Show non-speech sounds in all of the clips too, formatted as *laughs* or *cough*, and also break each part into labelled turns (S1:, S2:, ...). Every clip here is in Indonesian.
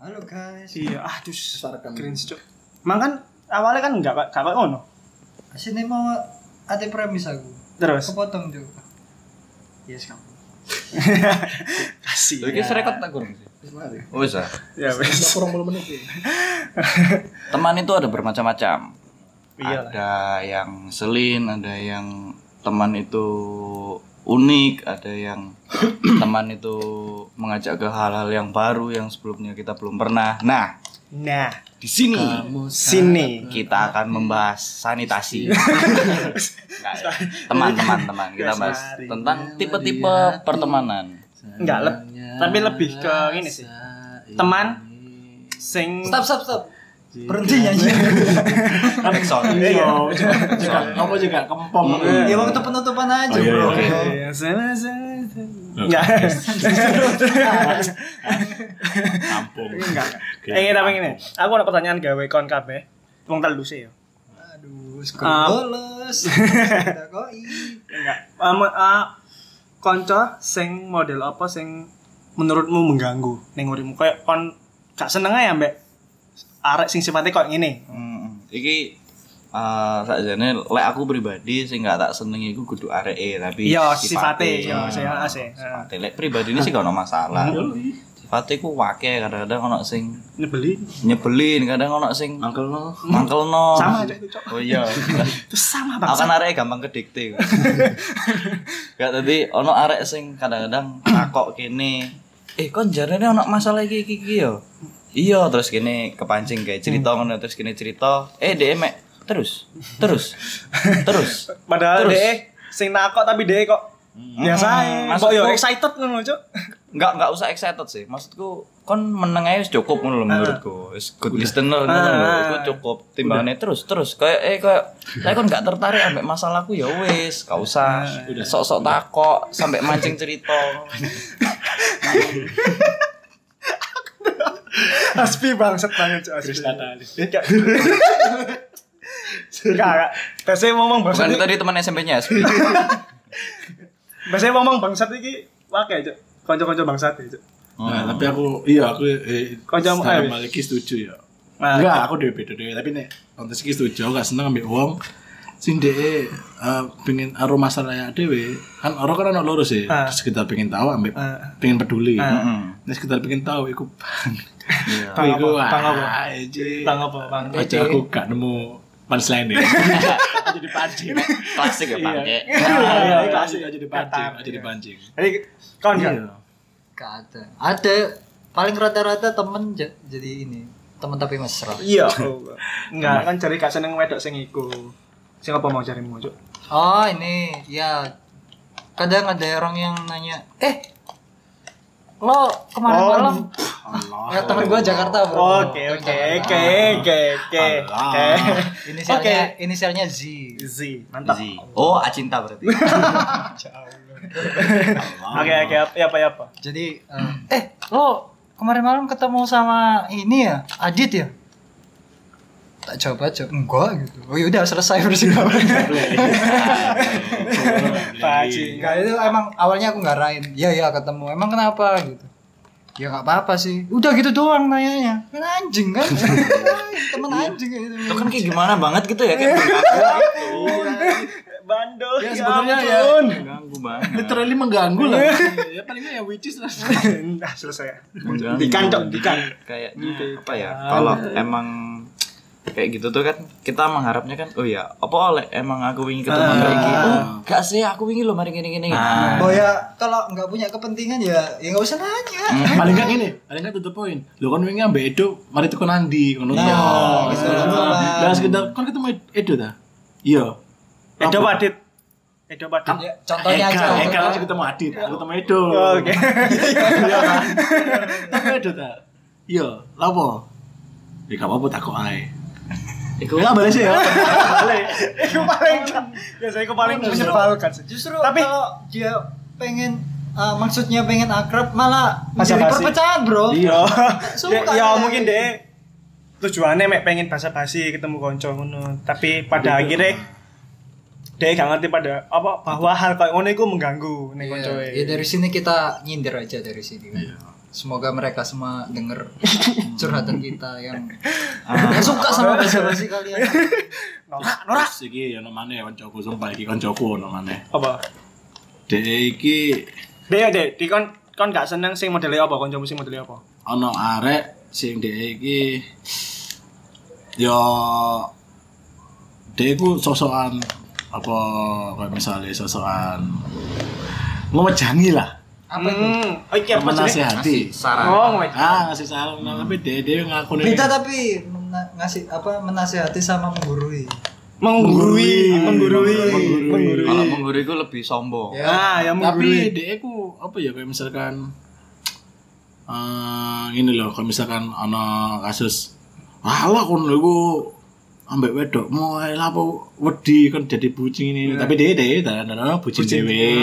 S1: wes.
S2: Iya, aduh,
S1: Besarkan.
S2: cringe cok. Mang kan awalnya kan nggak nggak kayak ngono.
S1: Sini mau ate premis aku.
S2: Terus
S1: Kepotong juga. Yes kamu.
S2: *laughs* kasih.
S3: Lho iki serekot tak kurang sih.
S1: Mari.
S3: Ya. Oh, bisa.
S2: Ya wes.
S1: Kurang belum menit ya.
S3: Teman itu ada bermacam-macam.
S1: Iya.
S2: Iyalah.
S3: Ada yang selin, ada yang teman itu unik, ada yang *coughs* teman itu mengajak ke hal-hal yang baru yang sebelumnya kita belum pernah. Nah,
S2: Nah,
S3: di sini
S2: sini.
S3: kita akan membahas sanitasi. Enggak ya. Teman, teman, teman. Kita bahas
S2: Sehari.
S3: tentang tipe-tipe pertemanan.
S2: Enggak, leb- tapi lebih ke ini sih. Teman sing
S1: Stop stop stop. Berhenti ya, nyanyi.
S2: *laughs*
S3: Backsound.
S2: Iya.
S1: Kamu juga kempom.
S3: Iya.
S1: Ya waktu penutupan aja,
S4: Oh, iya,
S1: Bro.
S4: oke.
S2: Iya, sama- sama- sama. Enggak.
S4: Kampung.
S2: Enggak.
S4: Oke.
S2: Eh, tapi ngene. Aku ada pertanyaan gawe kon kabeh. Wong telu sih ya.
S1: Aduh,
S2: Ah.
S1: sekolos. Kita koi.
S2: Enggak. Um, uh, konco sing model apa sing menurutmu mengganggu ning uripmu kayak kon gak seneng ae ambek arek sing sifatnya kok ngene.
S3: Hmm, iki eh sakjane lek aku pribadi sing gak tak seneng iku kudu areke tapi
S2: Iya, Ah. sifate yo
S3: Hmm,
S2: sing asih.
S3: sifate. lek pribadi ini sih gak ono masalah. Sifate ku wake kadang-kadang ono sing
S2: Nyebelin.
S3: nyebelin, kadang ono sing
S4: Angkel no.
S3: mangkelno.
S2: Sama aja itu, Cok.
S3: Oh iya.
S2: *laughs* Terus sama
S3: Aku
S2: bangsa.
S3: kan arek gampang kedikte. Gak tadi ono arek sing kadang-kadang takok kene. Eh kon jarene ono masalah iki iki iki yo. Iya, terus kene kepancing kayak cerita ngono terus kene cerita. Eh dhek mek terus terus terus.
S2: Padahal
S3: Terus.
S2: dhek sing nakok tapi dhek kok biasa ae.
S3: Maksudku-
S2: Kok yo excited ngono, Cuk.
S3: Enggak enggak usah excited sih. Maksudku kon meneng ae wis cukup ngono lho menurutku. Wis good listener ngono lho.
S2: Ah.
S3: Iku cukup timbangannya terus terus kayak eh kayak lek kon gak tertarik ambek masalahku ya wis, gak usah sok-sok takok sampai mancing cerita.
S2: *laughs* Aspi bangsat banget, Cuk. Aspi. *laughs* Enggak. Enggak. Biasanya ngomong
S3: Bukan
S2: bangsat.
S3: itu tadi teman SMP-nya ya?
S2: Biasanya ngomong bangsat iki wake, Cuk. Kanca-kanca bangsat, Cuk.
S4: Nah, tapi aku iya aku eh,
S2: Kau jam-
S4: secara
S2: eh.
S4: Maliki setuju ya.
S2: Nah.
S4: Enggak, aku dhewe beda dhewe, tapi nek kontes iki setuju aku gak seneng ambek wong sing dhek eh, pengen aro masalahnya dhewe kan ora kan ono loro sih
S2: Ah.
S4: terus kita pengen tahu ambek
S2: Ah.
S4: pengen peduli
S2: Ah.
S4: Nah, terus kita pengen tahu iku bang
S2: Bang apa? Bang apa?
S4: bang
S2: Bang apa, Iya, Bang?
S4: aja aku gak nemu
S2: *laughs*
S4: punchline ya jadi pancing
S3: Klasik ya, pangke.
S4: iya
S2: iya,
S4: iya
S2: iya.
S4: jadi pancing
S2: Iya.
S4: jadi pancing
S2: Jadi kon kan? *laughs*
S4: iya
S1: Gak ada. Ada paling rata-rata temen ja- jadi ini. Temen tapi mesra.
S2: Iya. oh. Enggak, kan cari gak seneng wedok sing iku. Sing apa mau cari muncul?
S1: Oh, ini ya kadang ada orang yang nanya, "Eh, lo kemarin
S2: Oh,
S1: malam?" Ya temen gua Jakarta, Bro.
S2: Oke,
S1: Temen
S2: oke,
S1: Jakarta.
S2: oke, oke, oke. Oke. Oke.
S1: Inisialnya inisialnya Z.
S2: Z, mantap.
S3: Easy. Oh, acinta berarti.
S2: Oke, oke, apa ya apa apa?
S1: Jadi, eh, eh, lo kemarin malam ketemu sama ini ya, Adit ya? Tak jawab aja, enggak gitu. Oh yaudah selesai persidangan.
S4: *laughs*
S2: Paci.
S1: Enggak itu emang awalnya aku ngarahin. Iya iya ketemu. Emang kenapa gitu? Ya nggak apa-apa sih. Udah gitu doang nanyanya. Kan anjing
S4: *laughs*
S1: kan. Temen
S4: Iya.
S1: anjing kayak gitu.
S3: Itu kan kayak gimana banget gitu ya, kayak
S2: Bandel.
S4: Ya, sebenarnya ya.
S2: ampun.
S3: mengganggu banget.
S4: literally mengganggu lah
S2: Iya.
S4: ya palingnya ya which is lah
S2: Nah, selesai.
S3: Mengganggu.
S2: Dikan, Cok, dikan.
S3: Kayaknya apa ya? Kalau emang kayak gitu tuh kan kita mengharapnya kan oh ya apa oleh emang aku ingin
S2: Ah.
S3: ketemu kayak gitu oh gak sih aku ingin lo mari gini Nah, gini
S1: Oh ya kalau nggak punya kepentingan ya ya nggak usah nanya.
S4: paling gak ini paling gak tutup poin lo kan wingi ambek Edo mari tuku nandi ngono
S2: Nah,
S3: Iya,
S1: gitu lah, Bang.
S4: nah sekedar kan ketemu Ed- Edo ta iya
S2: Edo Padit. Edo Padit.
S1: Ya, contohnya
S4: Eka,
S1: aja.
S4: Eka kan ketemu Adit, aku ketemu Edo.
S2: Oke. *laughs*
S4: Iya kan? Ketemu Edo ta. Iya, lapo? Ya gak apa-apa takok ae. Iku ya balik sih ya.
S2: Paling. Iku paling. Ya saya iku paling
S1: Justru-
S2: menyebalkan sih.
S1: Justru
S2: Tapi-
S1: kalau dia pengen eh, maksudnya pengen akrab malah menjadi
S2: Basa-basi.
S1: perpecahan bro.
S2: Iya.
S1: Suka
S2: Dek,
S1: deh.
S2: ya mungkin deh tujuannya mek pengen basa-basi ketemu konco ngono, tapi pada akhirnya deh gak ngerti pada apa bahwa hal kayak ngono iku mengganggu ning
S1: Iya,
S2: koncoe.
S1: Ya
S2: Iya.
S1: dari sini kita nyindir aja dari sini. Semoga mereka semua
S2: *laughs*
S1: denger curhatan kita yang
S2: Ah.
S1: yang suka
S2: *laughs*
S1: sama bahasa basi kalian.
S2: Iya. Norak, norak.
S4: Terus iki ono maneh koncoku sumpah iki koncoku ono maneh.
S2: Apa?
S4: Dek iki
S2: Deh, deh, di kon kon gak seneng sing modelnya apa? Koncomu sing modelnya apa?
S4: ono arek sing dek iki yo dek iku sosokan apa kayak misalnya sosokan ngewejangi lah
S1: Apa itu?
S2: Hmm, oh, iki apa sih?
S4: menasehati
S3: Saran.
S2: Oh, ngomong.
S4: ah ngasih saran nah, tapi dek dek ngaku nih
S1: Berita tapi mena- ngasih apa menasehati sama menggurui.
S2: menggurui, menggurui,
S4: Menggurui.
S3: Kalau mengguriku lebih sombong.
S1: Ya.
S2: Nah, yang
S4: tapi
S2: menggurui.
S4: dek aku apa ya kayak misalkan eh ini loh kalau misalkan ono kasus alah kon lho iku ambek wedokmu ae lah apa wedi kon jadi bucin ini tapi dek dek dan ono bucin dhewe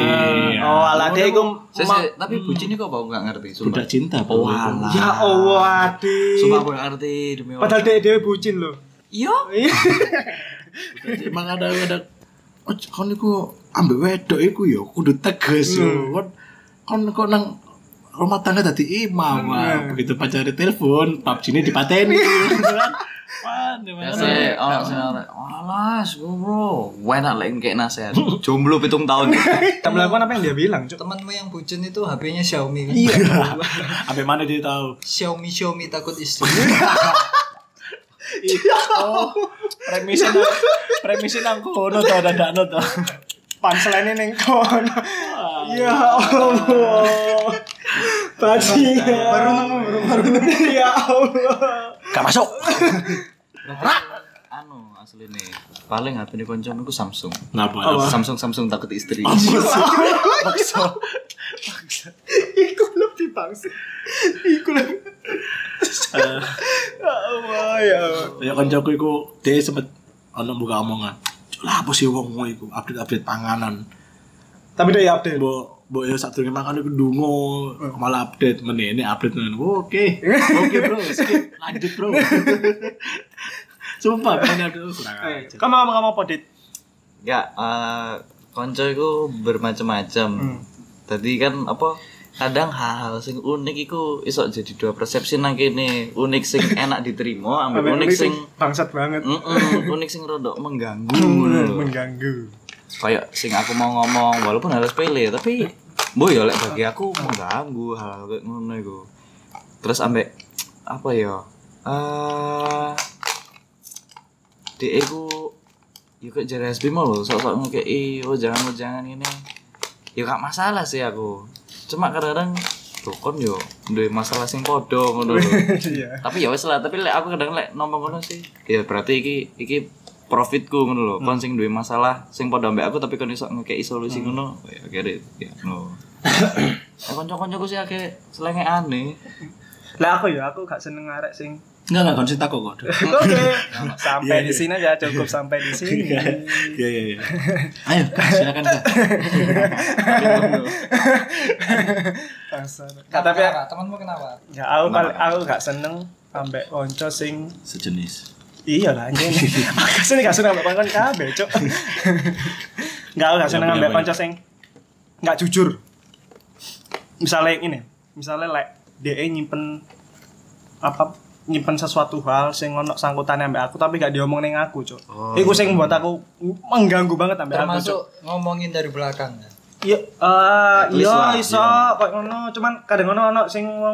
S2: Oh, ala deh, gua
S3: Saya- saya- tapi bucin ini kok aku gak ngerti. Sumpah.
S4: budak cinta Pak.
S3: Walah.
S2: Ya Allah, adik.
S3: Sumpah aku gak ngerti demi
S2: Padahal deh deh bucin loh.
S3: Iya.
S4: emang ada ada oh kon iku ambek wedok iku ya kudu tegas yo kon kon kok nang rumah tangga tadi imam wah begitu pacar telepon PUBG ini dipateni wah
S3: Ya
S4: dimana
S3: sih, orang sih orang. Oh, Alas, gue bro. Wena lain kayak *laughs* nasehat. Jomblo pitung tahun.
S2: Kita melakukan Eh, apa yang dia bilang, Cuk.
S1: Temanmu yang bucin itu HP-nya Xiaomi kan?
S2: Iya.
S4: *laughs* sampai mana dia tahu
S1: Xiaomi Xiaomi takut istri.
S2: *laughs*
S4: oh premisin premisin aku kono tau dadakno tau
S2: Panselane ning kono. Ya Allah. Bajingan. Baru nemu, baru baru nemu. Ya Allah.
S4: gak masuk
S3: Anu asli nih. Paling HP di koncom aku Samsung.
S4: kenapa
S3: Samsung Samsung takut istri.
S2: Iku lebih bangsa. Iku lebih. Ya Allah, ya Allah.
S4: Ya kancaku iku dia sempet ono buka omongan. "Cuk, Lah apa sih wong ngono iku update-update panganan.
S2: Tapi deh ya update.
S4: Mbok mbok ya sadurunge mangan iku dungo malah update menene update menene. Oh, Oke. Oke, Bro. Skip. Lanjut, Bro. Sumpah, ini update itu kurang
S2: Eh,
S4: aja.
S2: Kamu ngomong ngomong apa, Dit?
S3: Ya, eh konco itu bermacam-macam. Tadi kan apa? Kadang hal-hal sing unik iku iso jadi dua persepsi nang kene. Unik sing enak diterima, ambek unik sing
S2: bangsat banget.
S3: Mm-mm, unik sing rodok mengganggu.
S2: Hmm,
S3: ngono.
S2: Mengganggu. *laughs*
S3: Kayak sing aku mau ngomong walaupun harus pele tapi boy ya lek bagi aku mengganggu hal-hal kayak ngono iku. Terus ambek apa ya? Eh DE ku ya kok jare SB mau lho sok-sok ngekei oh jangan oh jangan ini. Ya gak masalah sih aku. Cuma kadang-kadang tuh kon yo duwe masalah sing padha ngono lho.
S2: Iya.
S3: tapi ya wes lah tapi lek aku kadang lek ngomong ngono sih ya berarti iki iki profitku ngono lho
S4: Hmm.
S3: kon sing duwe masalah sing padha mbek aku tapi kon iso ngekeki solusi ngono ya kere ya
S4: *coughs*
S3: no Eh, konco-koncoku sih akeh selenge aneh.
S2: Lah aku ya, aku gak seneng arek sing
S4: Enggak enggak konsen takut kok. Dok.
S2: Oke, sampai di sini aja cukup sampai di sini.
S4: Iya, iya, iya. Ayo, Kak, silakan Kak.
S2: Bangsat. Nah, tapi
S1: kenapa? temanmu kenapa?
S2: ya aku paling aku gak seneng sampai konco sing
S4: Sejenis.
S2: iya lah anjing. Aku sini gak seneng sampai konco kabeh, Cuk. Enggak, aku gak seneng sampai konco sing enggak jujur. Misalnya ini, misalnya like DE nyimpen apa nyimpen sesuatu hal sing ono sangkutannya ambek aku tapi gak diomong neng aku, Cuk. Iku sing membuat aku mengganggu banget ambek aku, Cuk.
S1: Termasuk ngomongin dari belakang. kan?
S2: Iya, eh
S3: least
S2: iya
S3: lah,
S2: iso
S3: iya.
S2: kok ngono, cuman kadang ngono ono sing ngomong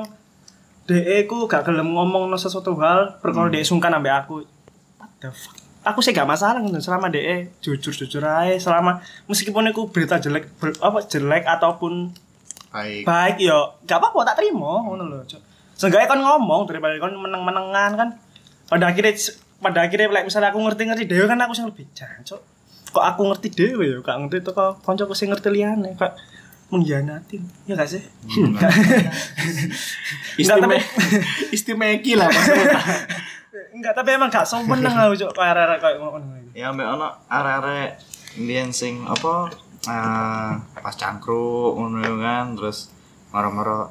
S2: DE ku gak gelem ngomong no sesuatu hal, perkara
S3: Hmm.
S2: DE sungkan ambek aku. What the fuck? Aku sih gak masalah ngono selama DE jujur-jujur aja, selama meskipun aku berita jelek ber- apa jelek ataupun
S3: Baik.
S2: baik yo gak apa-apa tak terima ngono lho Cuk. seenggaknya kon ngomong daripada kon meneng-menengan kan pada akhirnya pada akhirnya like, misalnya aku ngerti-ngerti dewe kan aku sing lebih jancuk kok aku ngerti dewe yo gak ngerti tuh kok konco sing ngerti liane kok mengkhianatin ya gak sih Enggak,
S4: Istimewa.
S2: tapi-
S4: Istimewa lah maksudnya.
S2: enggak tapi emang gak sopan nang aku cuk kayak kayak ngono iki.
S3: Ya ambek ono arek-arek mbiyen sing apa eh, pas cangkruk ngono yo kan terus moro-moro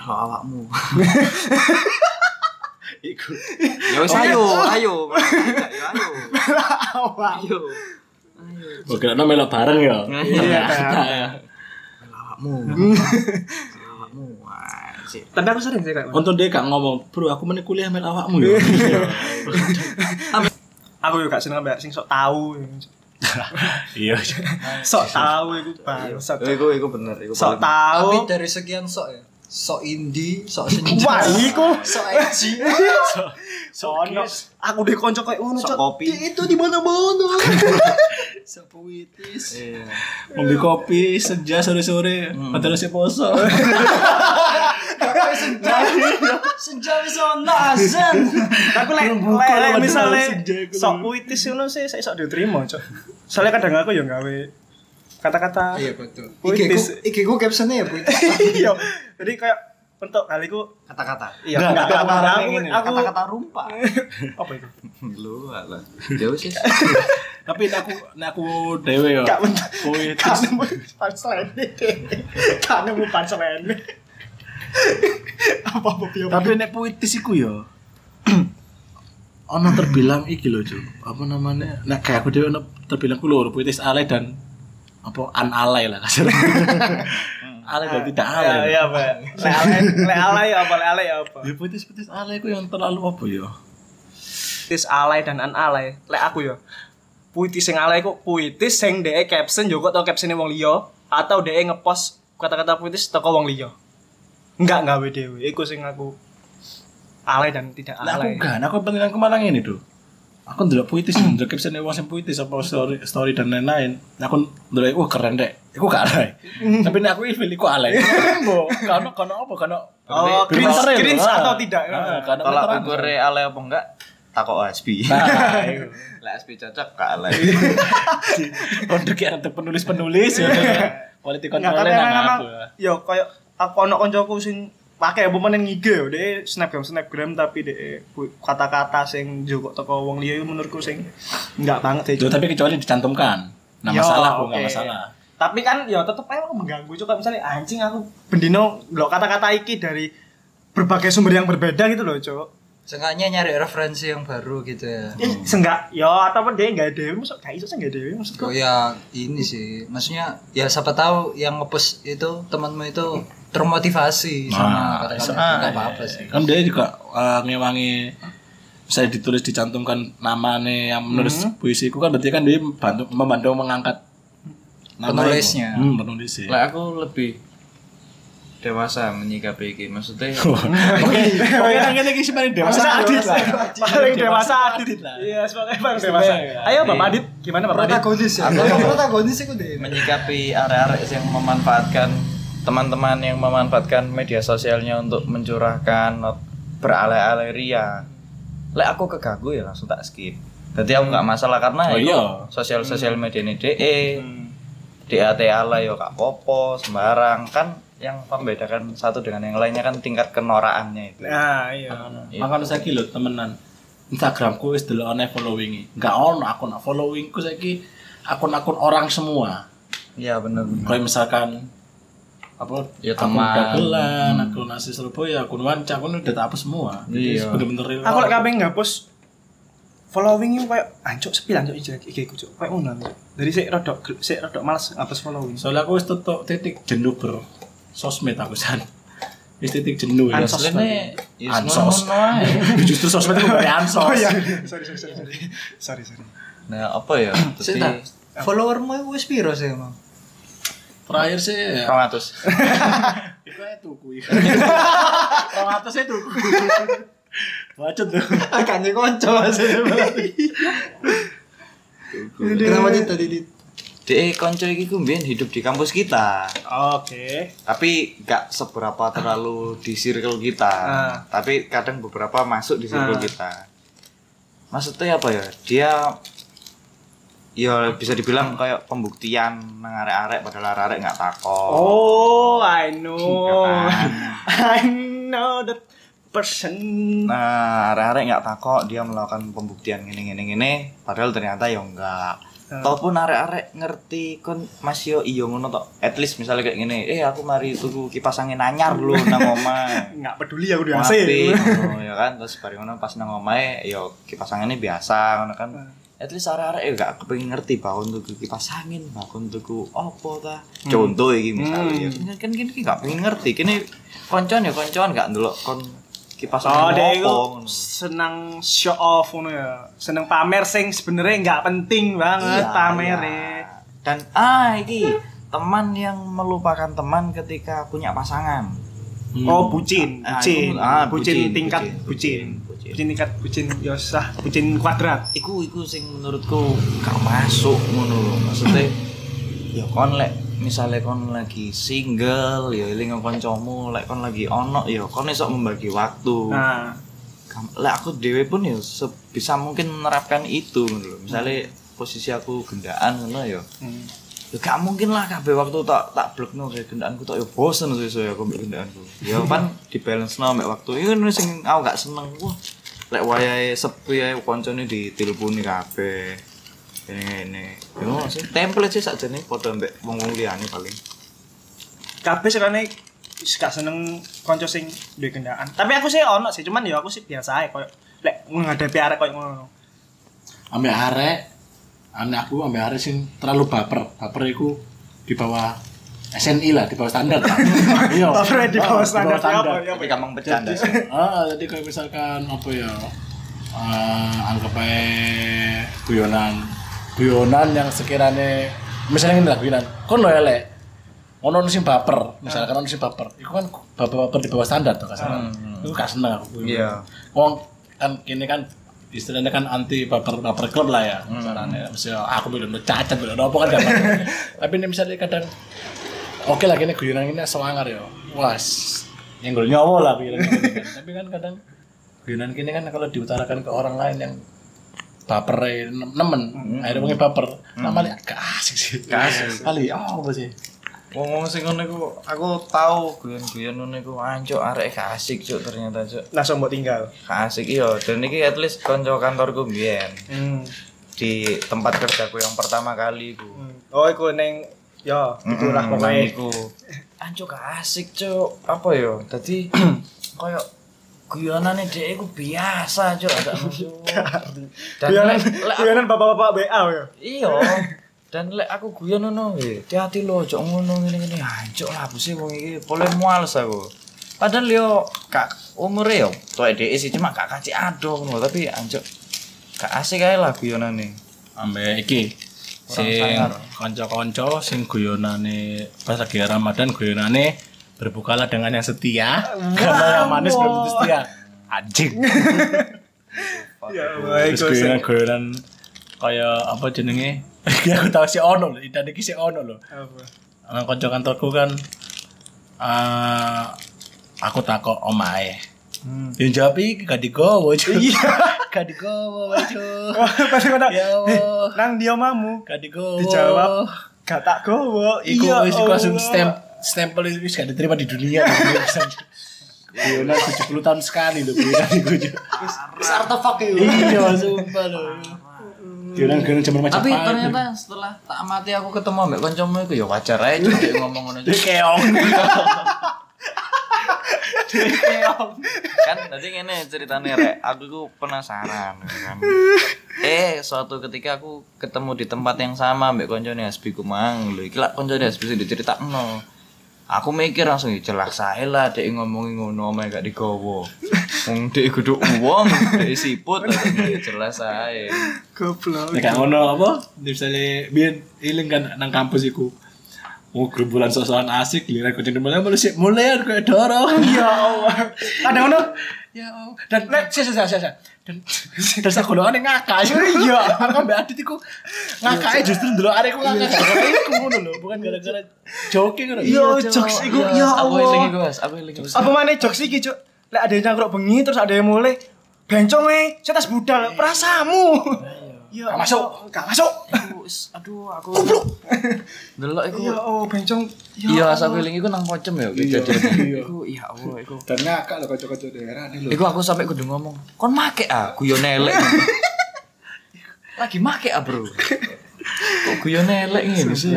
S3: "Melo awakmu. *laughs*
S4: Iku.
S3: Ya wis ayo, *laughs* ayo. Ya ayo. Ayo.
S4: Oke, no melo bareng ya.
S3: Ayo.
S2: Iya, kan.
S3: awakmu awakmu Wah, *laughs* sih.
S2: Tapi aku sering sih kayak
S4: Untung dia gak ngomong, bro aku meni kuliah mel awakmu ya.
S2: Aku juga gak seneng mbak sing sok tahu.
S4: Iya.
S2: Sok tahu iku bangsat.
S3: Iku iku bener, iku
S2: Sok
S1: Tapi
S2: tahu.
S3: paling-
S1: dari sekian sok ya. Sok indie, sok senja.
S2: Wah, iku.
S1: Sok edgy.
S2: Sono. Aku deh konco kayak ngono Cok.
S3: Sok kopi.
S2: Di- Itu di mana-mana.
S1: sok puitis.
S3: Iya.
S4: Ngombe kopi senja sore-sore, padahal sih poso.
S1: Tapi senja. *laughs* Senja bisa ono azan.
S2: Tapi lek
S4: Belum buka,
S2: lek- lek
S4: padahal
S2: misale
S4: senja iku.
S2: sok puitis ngono sih saya sok diterima, Cok. Soalnya kadang aku ya gawe kata-kata
S1: Iya betul. IG ku,
S2: Puitis.
S1: IG ku captionnya ya *laughs* puitis.
S2: Iya. Jadi kayak untuk kaliku
S1: Kata-kata.
S2: iya
S4: Nggak,
S2: enggak
S4: kata-kata
S2: aku
S4: ini.
S2: aku
S1: Kata-kata rumpah.
S2: apa itu?
S3: Lu alah. Ya Jauh sih.
S4: Tapi nek aku nek aku ya. dhewe yo.
S2: Gak bentar.
S4: Kuwi
S2: Gak nemu punchline Gak nemu punchline Apa-apa biar
S4: Tapi nek puitis iku *clears throat* yo. ono terbilang iki lho, Cuk. Apa namanya? Nek kayak aku dhewe ono terbilang ku lho puitis alay dan apa an alay lah *laughs* kasar. alay dan tidak alay.
S2: Hmm. Iya, iya, Pak. Lek alay, lek alay apa, lek alay apa?
S4: Ya puitis-puitis alay ku yang terlalu apa ya? yo?
S2: Puitis alay dan an alay. Lek aku ya. Puitis sing alay kok puitis sing dhek caption juga tau captionnya wong liya atau dhek ngepost kata-kata puitis teko wong liya. Enggak gawe dhewe. Iku sing aku alay dan tidak
S4: Lah aku
S2: alay.
S4: gak, nah, aku pengen aku malang ini tuh. Aku ndelok puitis, *clears throat* ndelok caption wong sing puitis apa story story dan lain-lain. Nah, aku ndelok wah keren dek. Iku gak
S2: *laughs*
S4: alay. Tapi nek aku ilfil iku alay. Mbok, kono kono apa kono
S2: Oh,
S4: Berarti
S2: cringe-
S4: filternya lho,
S2: cringe
S4: ah.
S2: atau tidak, kan?
S4: Ah, Karena
S3: Tolak
S4: filteran.
S3: ukur ale apa enggak? Takok ASB. *laughs*
S4: Nah, itu.
S3: Lek ASB cocok gak ale.
S4: Untuk ya untuk penulis-penulis ya. Quality
S2: Nggak,
S4: control
S2: tapi
S4: nang
S2: emang
S4: aku.
S2: yo koyo aku ono koncoku sing pakai apa meneng IG yo deh snapgram snapgram tapi deh kata-kata sing juga toko wong liya iku menurutku sing enggak banget sih.
S4: Duh, tapi kecuali dicantumkan. Nah,
S2: Yo,
S4: masalah aku
S2: oke.
S4: enggak masalah.
S2: Tapi kan yo tetep aja aku mengganggu juga misalnya anjing aku bendino lo kata-kata iki dari berbagai sumber yang berbeda gitu loh, Cok.
S1: Seenggaknya nyari referensi yang baru gitu ya.
S2: Ya,
S4: Hmm.
S2: senggak yo ataupun dia enggak dewe masuk gak iso sing enggak dewe maksudku.
S4: iya.
S1: Oh ya ini sih, maksudnya ya siapa tahu yang ngepost itu temanmu itu termotivasi sama
S4: Nah,
S1: kata-kata
S4: ah,
S1: nggak apa-apa sih.
S4: Kan dia juga uh, ngewangi misalnya ditulis dicantumkan namanya yang menulis puisi itu kan berarti kan dia bantu, membantu mengangkat nama
S1: Penulisnya.
S4: itu. Hmm, penulis ya. *laughs*
S3: Lek aku lebih dewasa menyikapi iki. Maksudnya
S4: Oke, oke nang ngene iki sih paling
S2: Paling
S4: dewasa iya. adit lah.
S2: Paling dewasa Adit.
S4: lah.
S2: Iya, sebagai paling dewasa.
S4: Iya.
S2: Ayo Bapak Adit, gimana Bapak Adit?
S1: Protagonis ya. Kalau protagonis itu deh.
S3: menyikapi arek-arek yang memanfaatkan teman-teman yang memanfaatkan media sosialnya untuk mencurahkan not- beralih-alih ria. Lek aku keganggu ya langsung tak skip. Jadi aku nggak masalah karena
S4: Oh,
S3: itu
S4: iya. Hmm.
S3: sosial sosial media ini E. DE,
S2: Hmm.
S3: DAT ala yo kak popo sembarang kan yang membedakan satu dengan yang lainnya kan tingkat kenoraannya itu.
S2: Nah, iya.
S4: Makanya saya lho temenan. Instagramku wis delok ana following Enggak ono akun followingku saiki akun-akun orang semua.
S3: Iya benar.
S4: Kayak misalkan apa
S3: Ya,
S4: akun
S3: teman. Hmm.
S4: dagelan, akun nasi Surabaya, akun wanca, akun udah tak hapus semua. Jadi
S3: Iya.
S4: bener-bener real.
S2: aku lek kabeh ngapus following iku koyo ancuk sepi ancuk IG ku cuk koyo ngono Cuk. Dari sik rodok gel- sik rodok males ngapus following.
S4: Soalnya aku wis tutup titik jenuh bro. Sosmed aku san. Wis titik jenuh ya.
S2: Ansos
S4: Soalnya-
S3: berarti. Ya,
S4: Ansos.
S3: ngono-ngono ae.
S4: Justru sosmed itu dari ansos.
S2: Oh iya, *laughs* sorry sorry sorry. sorry. Sorry sorry.
S3: Nah apa
S2: *clears throat*
S3: ya? Jadi
S1: Sudah. Followermu itu wis piro sih emang?
S4: Terakhir sih ya.
S3: 200.
S4: Itu aja tuku
S3: *laughs*
S4: ya. Orang atas aja tuku. Bacot tuh.
S1: *laughs* Kayaknya konco sih. Kenapa dit tadi dit?
S3: DE E, konco iki ku mbiyen hidup di kampus kita.
S2: Oke.
S3: Tapi gak seberapa terlalu di circle kita.
S2: Ah.
S3: Tapi kadang beberapa masuk di circle
S2: Ah.
S3: kita. Maksudnya apa ya? Dia ya bisa dibilang kayak pembuktian nang arek-arek padahal arek-arek nggak takon.
S2: Oh, I know.
S3: Iya kan?
S2: *laughs* I know that person.
S3: Nah, arek-arek nggak takok dia melakukan pembuktian gini gini gini, padahal ternyata ya enggak. Ataupun arek-arek ngerti kon Mas yo iya ngono tok. At least misalnya kayak gini, eh aku mari tuku kipas angin anyar lu nang omah.
S2: Nggak peduli aku udah *laughs*
S3: Mati,
S2: asik.
S3: ya, ngono, ya kan terus bareng ngono pas nang omahe ya kipas anginnya biasa ngono kan. at least arek-arek ya gak kepengin ngerti bahkan tuku kipas angin, bahkan tuku opo ta.
S2: Hmm.
S3: Contoh iki misalnya ya. Kan kan kene iki gak pengen ngerti. Kene koncoan ya koncoan gak ndelok kon kipas
S2: Oh, dia itu
S3: angin opo. ngono.
S2: seneng show off ngono ya. Seneng pamer sing sebenarnya nggak penting banget e.
S3: Iya,
S2: pamere.
S3: iya. Dan ah iki teman yang melupakan teman ketika punya pasangan.
S2: Oh, bucin,
S3: Ah,
S2: bucin.
S3: itu- ah,
S2: bucin,
S3: bucin,
S2: tingkat
S3: bucin,
S2: bucin.
S3: bucin.
S2: Bucin tingkat bucin yosah, bucin kuadrat.
S3: Iku iku sing menurutku gak masuk ngono lho. Maksudnya ya kon lek misalnya kon lagi single ya eling karo kancamu, lek kon lagi ono ya kon iso membagi waktu.
S2: Nah,
S3: Kam- Lek aku dhewe pun ya sebisa mungkin menerapkan itu ngono lho. Misalnya posisi aku gendaan ngono ya.
S2: hmm.
S3: ya gak mungkin lah kabeh waktu tak tak blokno kayak gendaanku tak ya bosen suwe-suwe aku mbek gendaanku ya kan di balance no mbek waktu ini kan sing aku gak seneng wah lek wayahe sepi ae koncone diteleponi kabeh ini ini yo sing template sih sakjane padha mbek wong-wong liyane paling
S2: kabeh sekarang gak seneng konco sing duwe kendaan. Tapi aku sih ono sih, cuman ya aku sih biasa ae koyo lek menghadapi arek koyo ngono.
S4: Ambek arek ane aku ambek arek sing terlalu baper. Baper iku di bawah SNI lah, di bawah standar.
S2: *laughs*
S4: Pak. Iya.
S2: Baper di bawah
S4: Ah,
S2: standar, apa, ya?
S3: tapi gampang bercanda sih
S4: Ah, jadi kayak misalkan apa ya? eh anggap aja guyonan. Guyonan yang sekiranya misalnya ini lah guyonan. Kon lo elek. Ono sing baper, misalkan ono sing baper. Iku kan baper-baper di bawah standar tuh kasar. Iku gak seneng aku.
S3: Iya.
S4: Wong kan kini kan istilahnya kan anti baper baper klub lah ya misalnya misalnya "Ah, aku belum cacat belum apa kan gak *laughs* apa-apa. tapi ini misalnya kadang oke lah kini guyonan ini sewangar ya was nyenggol nyawa lah guyonan ini kan. tapi kan kadang guyonan kini kan kalau diutarakan ke orang lain yang baper ya, nem- nemen akhirnya mungkin baper nah malah gak asik sih gak asik kali oh apa sih
S3: wong-wong sing ngono iku aku tau guyon-guyon ngono iku ancuk "Ah, arek gak asik cuk ternyata cuk
S2: Langsung mbok tinggal.
S3: gak asik iya dan iki at least kanca kantorku biyen
S2: Hmm.
S3: di tempat kerjaku yang pertama kali iku
S2: Oh, iku ning ya itulah
S3: Mm,
S2: pokoknya.
S3: nang iku. Ancu gak asik, Cuk. Apa yo? Dadi *clears throat* koyo guyonane dhek iku biasa, Cuk. Ada musuh. Dan
S2: Guyonan,
S3: lek- lek aku-
S2: guyonan bapak-bapak BA ya.
S3: iya. Dan lek aku guyon ngono, eh, hati-hati lo, cok ngono ngene-ngene. Ancuk lah buse wong iki, boleh muales aku. Padahal yo kak umure yo tuwek dhek sih cuma gak kaci adoh ngono, tapi anjuk gak asik ae lah guyonane.
S4: ambe iki sing
S3: sangar.
S4: kanca-kanca sing guyonane pas lagi Ramadan guyonane berbukalah dengan yang setia karena yang manis belum tentu setia anjing
S2: Ya,
S4: terus guyonan guyonan kaya apa jenenge *laughs* iki aku tau si ono lho dan iki si ono lho
S2: Apa?
S4: nang kanca kantorku kan eh aku takok omae
S2: Hmm.
S4: Yang jawab iki gak digowo cuy. Iya, *laughs* gak digowo cuy.
S2: *laughs* Pas ngono.
S4: Ya Allah.
S2: Nang dia mamu.
S4: Gak digowo.
S2: Dijawab gak tak gowo.
S4: Iku wis iku langsung
S2: Ya Allah.
S4: stamp stempel itu wis gak diterima di dunia. Guyonan 70 tahun sekali loh guyonan iku. Wis artefak iku. Iya, sumpah loh. Guyonan guyonan zaman macam
S3: tapi ternyata setelah tak mati aku ketemu ambek kancamu iku ya wajar aja Cuk, dia ngomong ngono Cuk.
S4: keong.
S3: kan tadi ngene ceritanya rek aku ku penasaran kan eh suatu ketika aku ketemu di tempat yang sama ambek kancane Hasbi ku mang lho iki lak kancane Hasbi sing diceritakno aku mikir langsung "Ya, jelas saya lah dek ngomongi ngono omae gak digowo wong dek kudu uwong dek siput katanya, "Ya, jelas saya
S2: Goblok.
S4: Nek ngono apa? Misalnya biyen iling kan nang kampus iku. Oh, gerombolan sosokan asik, giliran kucing dimulai, mulai sih, mulai aku kayak dorong.
S2: Ya Allah. Ada ngono.
S4: Ya Allah. Dan sih sih sih sih. Dan dan aku doang yang ngakak. *laughs* Iya. Aku mbak Adit iku ngakak aja justru dulu arek aku ngakak gara-gara iku ngono lho, bukan gara-gara joking ngono.
S2: Iya, jokes iku ya
S3: aku eling
S2: Allah.
S3: iku Mas, aku eling iku.
S2: Apa mana jokes iki, Cuk? Lek ada yang nyangkruk bengi terus ada yang mulai bencong eh, setas budal, perasamu. Ya,
S4: Gak masuk.
S2: gak masuk.
S3: Aku- aduh aku delok iku
S2: Ya Allah, bencong.
S3: Iya, aku eling iku nang pocem ya kejadian.
S4: iya.
S3: Iku ya Allah iku.
S4: Dan ngakak lho kocok-kocok daerah ini lho.
S3: Iku aku sampai kudu ngomong, kon make ah guyon
S2: *laughs*
S3: elek. Lagi make ah, Bro. Kok guyon elek
S2: Iya,
S3: ngene sih?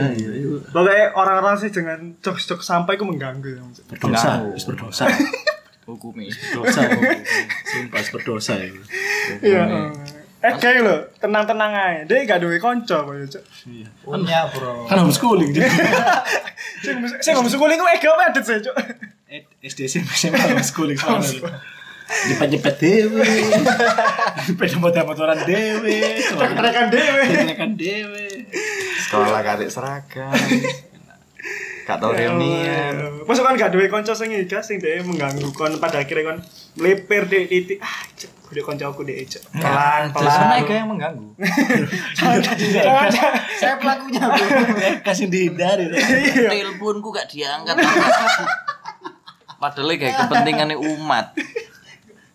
S2: Pokoknya orang-orang sih jangan jokes-jokes sampai ku mengganggu. ya,
S4: Berdosa,
S3: Nah.
S4: wis berdosa.
S3: Hukumi.
S4: Berdosa. Sumpah wis berdosa ya.
S2: Iya. Eh kayak lo, tenang-tenang aja. Dia gak duwe konco kok yo, Cuk.
S1: Punya bro.
S4: Kan homeschooling *laughs* jadi
S2: Sing sing ngomong sekolah iku ega apa adet sih, Cuk.
S4: SD SMP SMP homeschooling soalnya. Dipet-nyepet *laughs* dewe. Dipet motor-motoran dewe.
S2: Rekan dhewe.
S4: Tekan dewe.
S3: Sekolah kadek seragam. Gak tau reunian.
S4: ya.
S2: Masuk kan gak duwe konco sing ega sing dia mengganggu kon pada akhirnya kon leper dek titik. Ah, Cuk, gede koncoku dek, Cuk. Pelan, pelan.
S3: Sana itu yang mengganggu.
S2: Iya. Jangan, jangan.
S1: Saya pelakunya.
S4: Eh, Kasih dihindari.
S3: Kan Teleponku gak diangkat. Padahal kayak kepentingannya umat.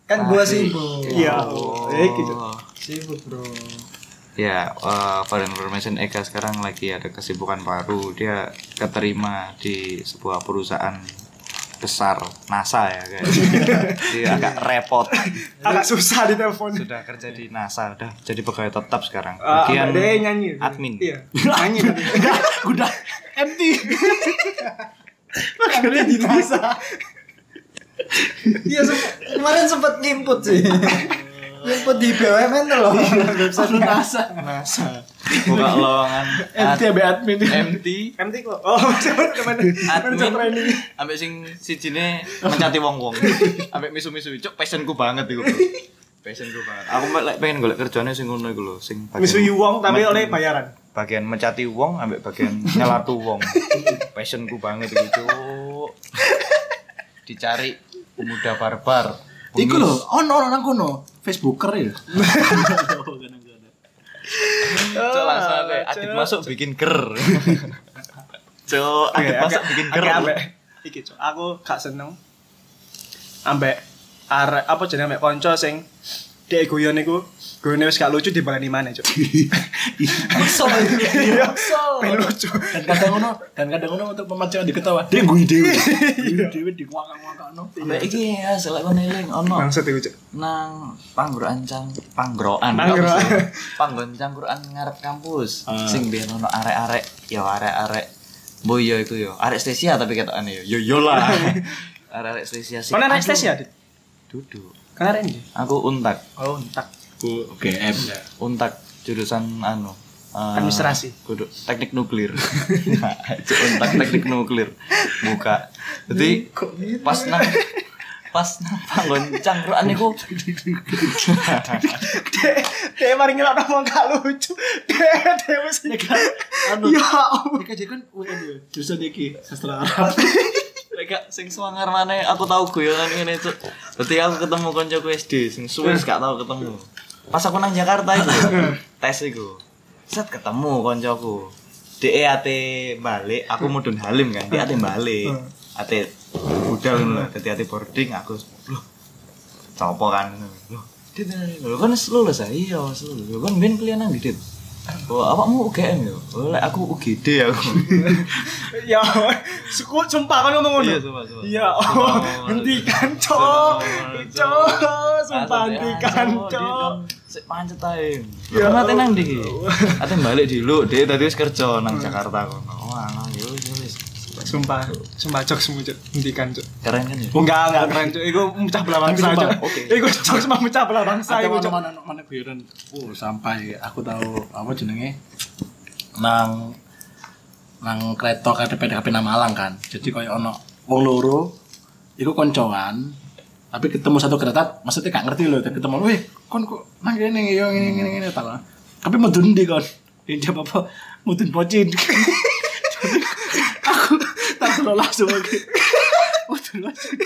S1: Kan gua sibuk.
S2: Iya. Eh gitu.
S1: Sibuk bro.
S3: Ya, eh, for information Eka sekarang lagi ada kesibukan baru. Dia keterima di sebuah perusahaan besar NASA ya
S2: *laughs*
S3: guys. Dia agak repot.
S2: Agak susah di telepon.
S3: Sudah kerja di NASA, udah jadi pegawai tetap sekarang.
S2: Ah,
S3: Bagian
S2: dia nyanyi.
S3: admin.
S2: Iya. Nyanyi. tapi.
S4: Udah empty. Akhirnya di NASA.
S1: Iya sempat- kemarin sempat ngimput sih. Ngimput di BUMN tuh loh.
S4: Website NASA.
S3: Buka
S2: *laughs*
S3: lowongan
S4: Empty
S3: ad-
S4: abe admin.
S3: MT
S2: MT kok. Oh, *laughs* teman-teman.
S3: admin
S2: Teman-teman ini.
S3: ambek sing sijine mencati wong-wong. Ambek misu-misu cuk passionku banget
S2: *laughs*
S3: iku. Bro. Passionku banget. Aku lek pengen golek kerjane sing ngono iku lho, sing bagian-
S2: Misu Yuwong tapi oleh bayaran.
S3: bagian mencati wong ambek bagian nyelatu *laughs* wong passionku banget itu dicari pemuda barbar
S4: Iku
S3: pengemis.
S4: lho, ono ono nang kono, Facebooker ya.
S3: cok langsung aja, adit masuk bikin ger cok adit
S2: Oke,
S3: masuk
S2: oke,
S3: bikin
S2: oke,
S3: ger
S2: ambek iki Cuk. Aku gak seneng ambek arek apa jenenge ambek kanca sing dek guyon niku guyone wis gak lucu dibaleni maneh Cuk. *laughs*
S1: Kesel.
S2: Iya.
S1: Kesel.
S2: Ben lucu.
S4: Dan kadang ono, dan kadang ono untuk memancing di ketawa. Dia gue dewe. Gue dewe di ngwakang-ngwakang.
S3: Ambek iki ya selek kon eling ono
S2: Maksud iku Cuk.
S3: nang panggro ancang panggroan
S2: Panggroan.
S3: panggon cangkuran ngarep kampus sing biyen ono arek-arek ya arek-arek mbo yo iku yo arek stesia tapi ketokane yo yo yo lah *laughs* arek-arek stesia sih
S2: Mana ya? anestesia, Dit?
S3: duduk
S2: Kemarin Dit.
S3: aku untak
S2: Oh, entak.
S4: Oke, M.
S3: untak jurusan anu eh,
S2: Administrasi.
S3: kudu- teknik nuklir *laughs* Cuk, untak teknik nuklir buka jadi pas nang pas nang panggon cangkuran niku
S2: Dek, dek mari ngelok ngomong gak lucu. Dek, dek wis
S4: Anu.
S2: Ya Allah.
S4: Mereka jadi kan UN ya, jurusan iki sastra Arab.
S3: Mereka sing semangar mana aku tahu guyonan ngene itu. Berarti aku ketemu koncoku SD sing suwe gak tahu ketemu. Pas aku nang Jakarta itu tes iku. Set ketemu koncoku. DE ate balik, aku mudun Halim kan. Dia ate balik. Ate budal ngono lho, dadi ate boarding aku. Loh. Copo kan. Loh, Dit, lho kan wis lulus ah. Iya, wis lulus. Lho kan ben kuliah nang Dit. Oh, awakmu UGM yo. Oh, lek aku UGD aku.
S2: Ya, suku sumpah kan ngomong ngono.
S3: Iya, sumpah, sumpah.
S2: Iya, oh,
S3: Sumpah,
S2: hentikan,
S3: sumpah,
S2: Cok. Cok, sumpah hentikan, Cok.
S3: Sik pancet ae. Ya mate nang ndi iki? Ate balik dulu, Dek tadi wis kerja nang Jakarta kono. Oh, ana yo yo wis.
S2: Sumpah, sumpah jok semua Cok. Hentikan, Cok.
S3: Keren kan ya?
S2: Oh, enggak, enggak keren, Cok. Iku mecah belah bangsa,
S4: Tapi
S2: Cok.
S4: sumpah,
S3: oke.
S2: Iku Cok cuma mecah belah bangsa
S4: Saya
S2: iku,
S4: mau
S2: Cok.
S4: mana mana mana guyonan. Oh, sampah ya. Aku tahu apa jenenge? Nang nang kereta KDP KDP nang Malang kan. Jadi koyo ono wong loro iku koncoan tapi ketemu satu kereta maksudnya gak ngerti loh ketemu weh kon kok nang kene yo ngene ngene ngene ta lah. Tapi mudun ndi kon? Ya jawab apa? Mudun *laughs* bocin. aku tak perlu langsung oke. Mudun bocin.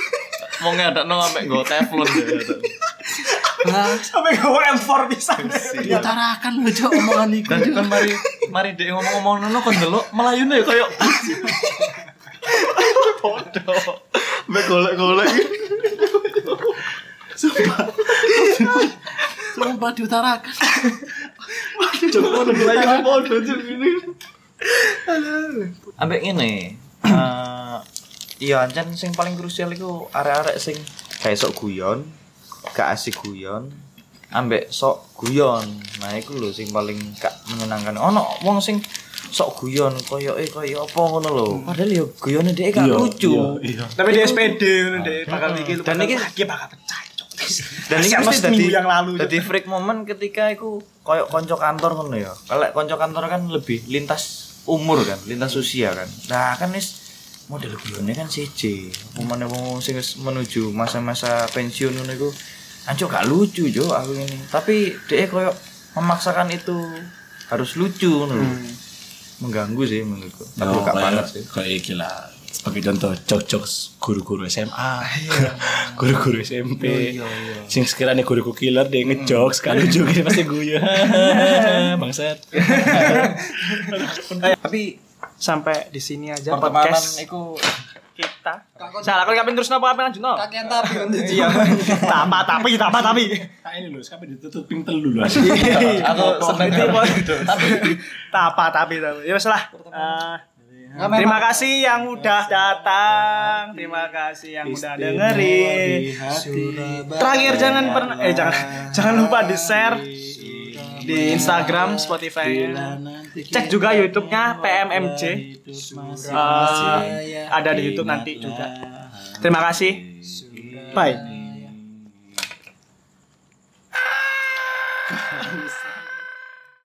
S3: Wong ngadakno ambek nggo teflon ya.
S2: Sampai gawe M4 bisa.
S4: Diutarakan lho Cok, omongan iku.
S3: Dan
S4: Cok.
S3: kan mari mari Dek ngomong-ngomong ngono kon delok melayune ya koyo bodoh. Mbek golek-golek.
S4: Sumpah diutarakan.
S3: Jokowi lagi bodoh tuh ini. Ambek ngene. eh, Iya, ancen sing paling krusial iku arek-arek sing gak esok guyon, gak asik guyon, ambek sok guyon. Nah, iku lho sing paling gak menyenangkan. Ono wong sing sok guyon koyoke koyo apa ngono lho. Padahal yo guyone dhek gak lucu.
S4: Hmm. Iya.
S2: Tapi di SPD, ngono, Dek. Bakal iki Dan
S3: Dan iki-
S2: iki bakal pecah, Cok.
S3: dan ini
S2: Siapa
S3: mesti
S2: seminggu
S3: dadi
S2: yang lalu,
S3: dadi freak moment ketika iku koyok konco kantor ngono ya. Kalau konco kantor kan lebih lintas umur kan, lintas usia kan. Nah, kan wis model guyone kan siji. Pemane wong sing wis menuju masa-masa pensiun ngono iku anco gak lucu jo aku ini. Tapi dia koyok memaksakan itu harus lucu ngono. lho. Mengganggu sih menurutku. Tapi
S4: Yo,
S3: gak
S4: Oh, kayak-
S3: banget sih.
S4: kayak iki lah sebagai contoh jok-jok guru-guru SMA *laughs* guru-guru SMP sing sekiranya guru killer dia ngejok sekali juga dia pasti *laughs* guyu bangsat
S2: Tapi sampai di sini aja
S3: Pertemanan
S2: podcast
S3: iku
S2: kita. Salah kan kapan terus napa kapan lanjut no?
S1: Kakian tapi kan dia.
S2: Iya. Tapa tapi tapa tapi.
S4: tak ini lho sampai ditutup ping telu *laughs* lho
S3: aku seneng
S2: Tapi tapa tapi tapi. Ya wes lah. Eh, Terima kasih yang udah datang. Terima kasih yang udah dengerin. Terakhir jangan pernah eh jangan jangan lupa di-share di Instagram, Spotify. Cek juga YouTube-nya PMMJ. Eh, ada di YouTube nanti juga. Terima kasih. Bye.